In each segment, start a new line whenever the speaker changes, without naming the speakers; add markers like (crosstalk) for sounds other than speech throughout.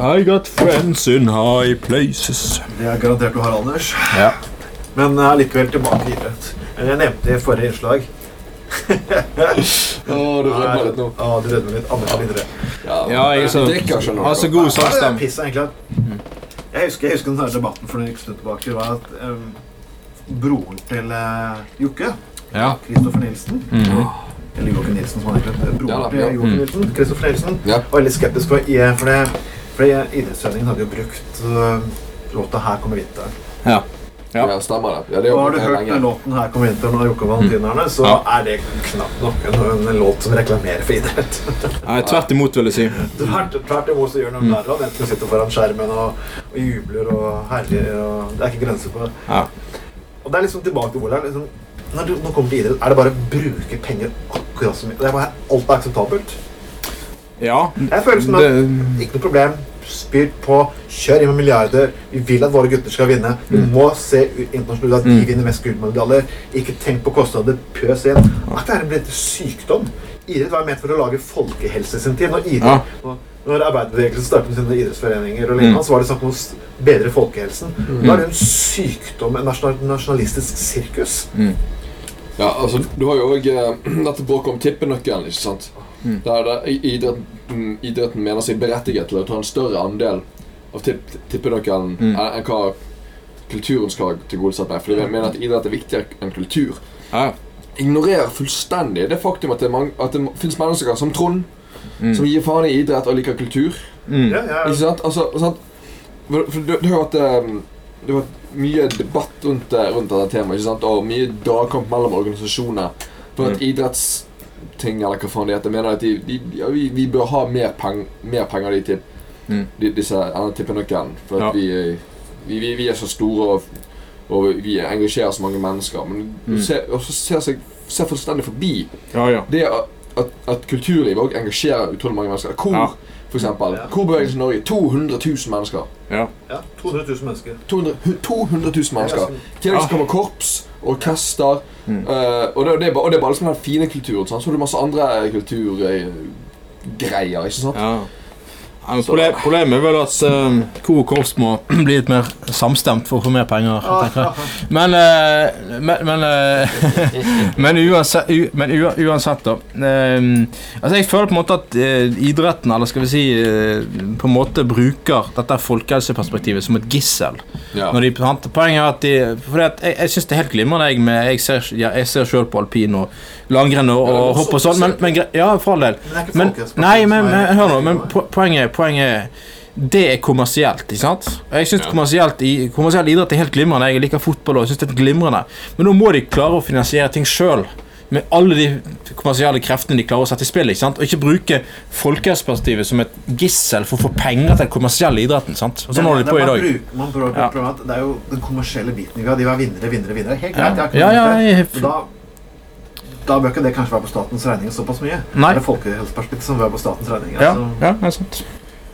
I got friends in high places.
Det er garantert du har, Anders.
Ja.
Men jeg er likevel tilbake i idrett. Eller jeg nevnte i forrige innslag.
Å, du rømmer litt nå.
Ja, Ah, du rødmer litt. Anders videre.
Ja, jeg så-
drikker ikke noe.
Har så god
Ja, det er
salgsstem.
piss, egentlig. at- Jeg husker, jeg husker den der debatten for en stund tilbake. Det var at em, broren til eh, Jokke,
Ja.
Kristoffer Nilsen
Mm.
Eller Joakim Nilsen, som han heter. eh, Broren
Ja da,
til
ja.
Joakim
Mm.
Nilsen, Kristoffer Nilsen.
Ja.
Var veldig skeptisk for, i- for det, fordi idrettsforeningen hadde jo brukt eh, låta 'Her kommer vinteren'.
Ja.
Ja, stemmer det. Ja, det er
Og
jo
har du
helt
hørt
lenge.
den låten 'Her kommer vinteren' av Jokke og Valentinerne, så
Ja.
er det knapt nok en, en låt som reklamerer for idrett. (laughs)
Nei, tvert imot, vil jeg si.
Tvert, tvert imot så gjør noen lærere av enten sitter foran skjermen og, og jubler og herjer. og Det er ikke grenser på det.
Ja.
Og det er liksom tilbake til hvor det er liksom, når du nå kommer til idrett, er det bare å bruke penger akkurat som det er bare, Alt er akseptabelt.
ja.
Jeg føler som at
Det,
ikke noe problem. Spyr på. Kjør inn med milliarder. Vi vil at våre gutter skal vinne. Vi må se u- internasjonalt at de
Mm.
vinner mest gullmedaljer. Ikke tenk på kostnader. Pøs inn. At det er en blitt sykdom. Idrett var ment for å lage folkehelse i sin tid. Når,
Ja.
idrett, når- når arbeiderbevegelsen startet med sine idrettsforeninger, og
Mm.
lignende, så var det snakk om å s- bedre folkehelsen. Nå er det en sykdom, en nasjonal, nasjonalistisk sirkus.
Ja, altså, du har jo òg (clears throat) dette bråket om tippenøkkelen, ikke sant?
Mm.
Der det, i- idretten, mm, idretten mener seg berettiget til å ta en større andel av tipp, tippenøkkelen eh,
Mm.
enn enn hva kulturen skal tilgodesett med. Fordi vi mener at idrett er viktigere enn kultur.
ja.
ignorerer fullstendig det faktum at det, er mange, at det finnes mennesker som Trond,
Mm.
som gir faen i idrett og liker kultur.
Mm.
Ja, ja.
Ikke sant? Altså, sant? For, for du, du har hatt ehm, det har vært mye debatt rundt, det- rundt dette temaet, ikke sant? og mye dragkamp mellom organisasjoner. For
Mm.
at idrettsting, eller hva faen det heter, mener at de, de, ja, vi, vi bør ha mer, peng, mer penger de til
Mm.
de, disse denne tippenøkkelen. For
Ja.
at vi, vi, vi, vi er så store, og, og vi engasjerer så mange mennesker. Men
Mm.
du ser, også ser, seg, ser fullstendig forbi
Ja, ja.
det at, at, at kulturlivet òg engasjerer utrolig mange mennesker. Kor,
Ja.
for eksempel.
Ja.
Korbevegelsen i Norge. 200 000 mennesker.
ja 200 000 mennesker.
200, hu- 200 000 mennesker. I tillegg så kommer korps, orkester
Ah. Mm.
eh, og, det, og det er bare, og det er bare liksom den fine kulturen. Sant? Så har du masse andre kulturgreier. ikke sant?
ja. Ja, men proble- Problemet er vel at um, kor og korps må (clears throat) bli litt mer samstemt for å få mer penger. tenker jeg. Men eh, Men, men, eh, (laughs) men, uansett, u, men ua- uansett, da. eh, altså Jeg føler på en måte at eh, idretten, eller skal vi si eh, På en måte bruker dette folkehelseperspektivet som et gissel.
Ja.
Når de, sant? poenget er at de fordi at jeg, jeg syns det er helt glimrende, jeg, med Jeg ser, ja, jeg ser sjøl på alpin og langrenn og,
Ja, det er
og
også
hopp og sånn, men, men gre- Ja, for all del.
Men det er ikke
Men,
folkehelsepartiet
nei, men,
som er-
men hør nå. Men po- poenget, poenget er det er kommersielt. ikke sant? Og Jeg synes
Ja.
kommersielt i- Kommersiell idrett er helt glimrende. Jeg liker fotball og synes det er glimrende. Men nå må de klare å finansiere ting sjøl. Med alle de kommersielle kreftene de klarer å sette i spill. ikke sant? Og ikke bruke folkehelseperspektivet som et gissel for å få penger til den kommersielle idretten. sant? Og sånn holder de
Det er-
på i
man
dag.
bruker- Man prøver,
Ja.
prøver at det er jo den kommersielle biten. ikke sant? De var vinnere, vinnere, vinnere. Helt
Ja.
greit. jeg har ikke
Ja,
noe
ja,
imot det.
jeg-
Da, da bør ikke det kanskje være på statens regning såpass mye.
Nei.
Det er folkehelseperspektivet som bør være på statens regning.
Ja,
altså.
ja, det er sant.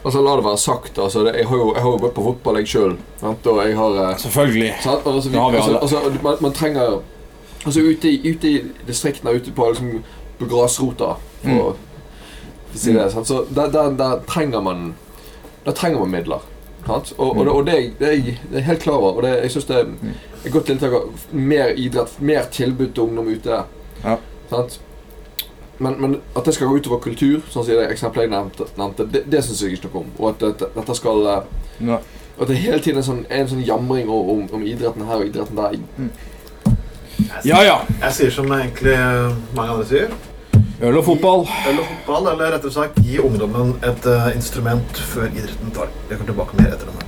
Altså, la det være sagt. Altså, det, jeg, har jo, jeg har jo gått på fotball, jeg sjøl. Og jeg har eh,
Selvfølgelig.
Sant? Og Altså, vi,
Det har vi
altså,
alle.
altså, man, man trenger Altså ute, i- ute i distriktene, ute på, liksom, på grasrota, for
Mm.
å for å si det, sant? så der, der, der trenger man Der trenger man midler. Sant? Og,
Mm.
og, det, og det, er jeg- det, er jeg- det er jeg helt klar over. Og det, jeg syns det er et godt tiltak. av Mer idrett, mer tilbud til ungdom ute.
Ja.
Sant? Men, men at det skal gå utover kultur, sånn som i det eksempelet jeg nevnte, nevnte det, det syns jeg ikke noe om. Og at dette, dette skal eh,
Ja.
at det hele tiden er en sånn, er en sånn jamring om, om, om idretten her og idretten der.
ja ja.
Jeg sier som egentlig mange andre sier.
Øl og fotball.
Øl og fotball, eller rettere sagt, gi ungdommen et eh, instrument før idretten tar. Vi kommer tilbake mer etter denne.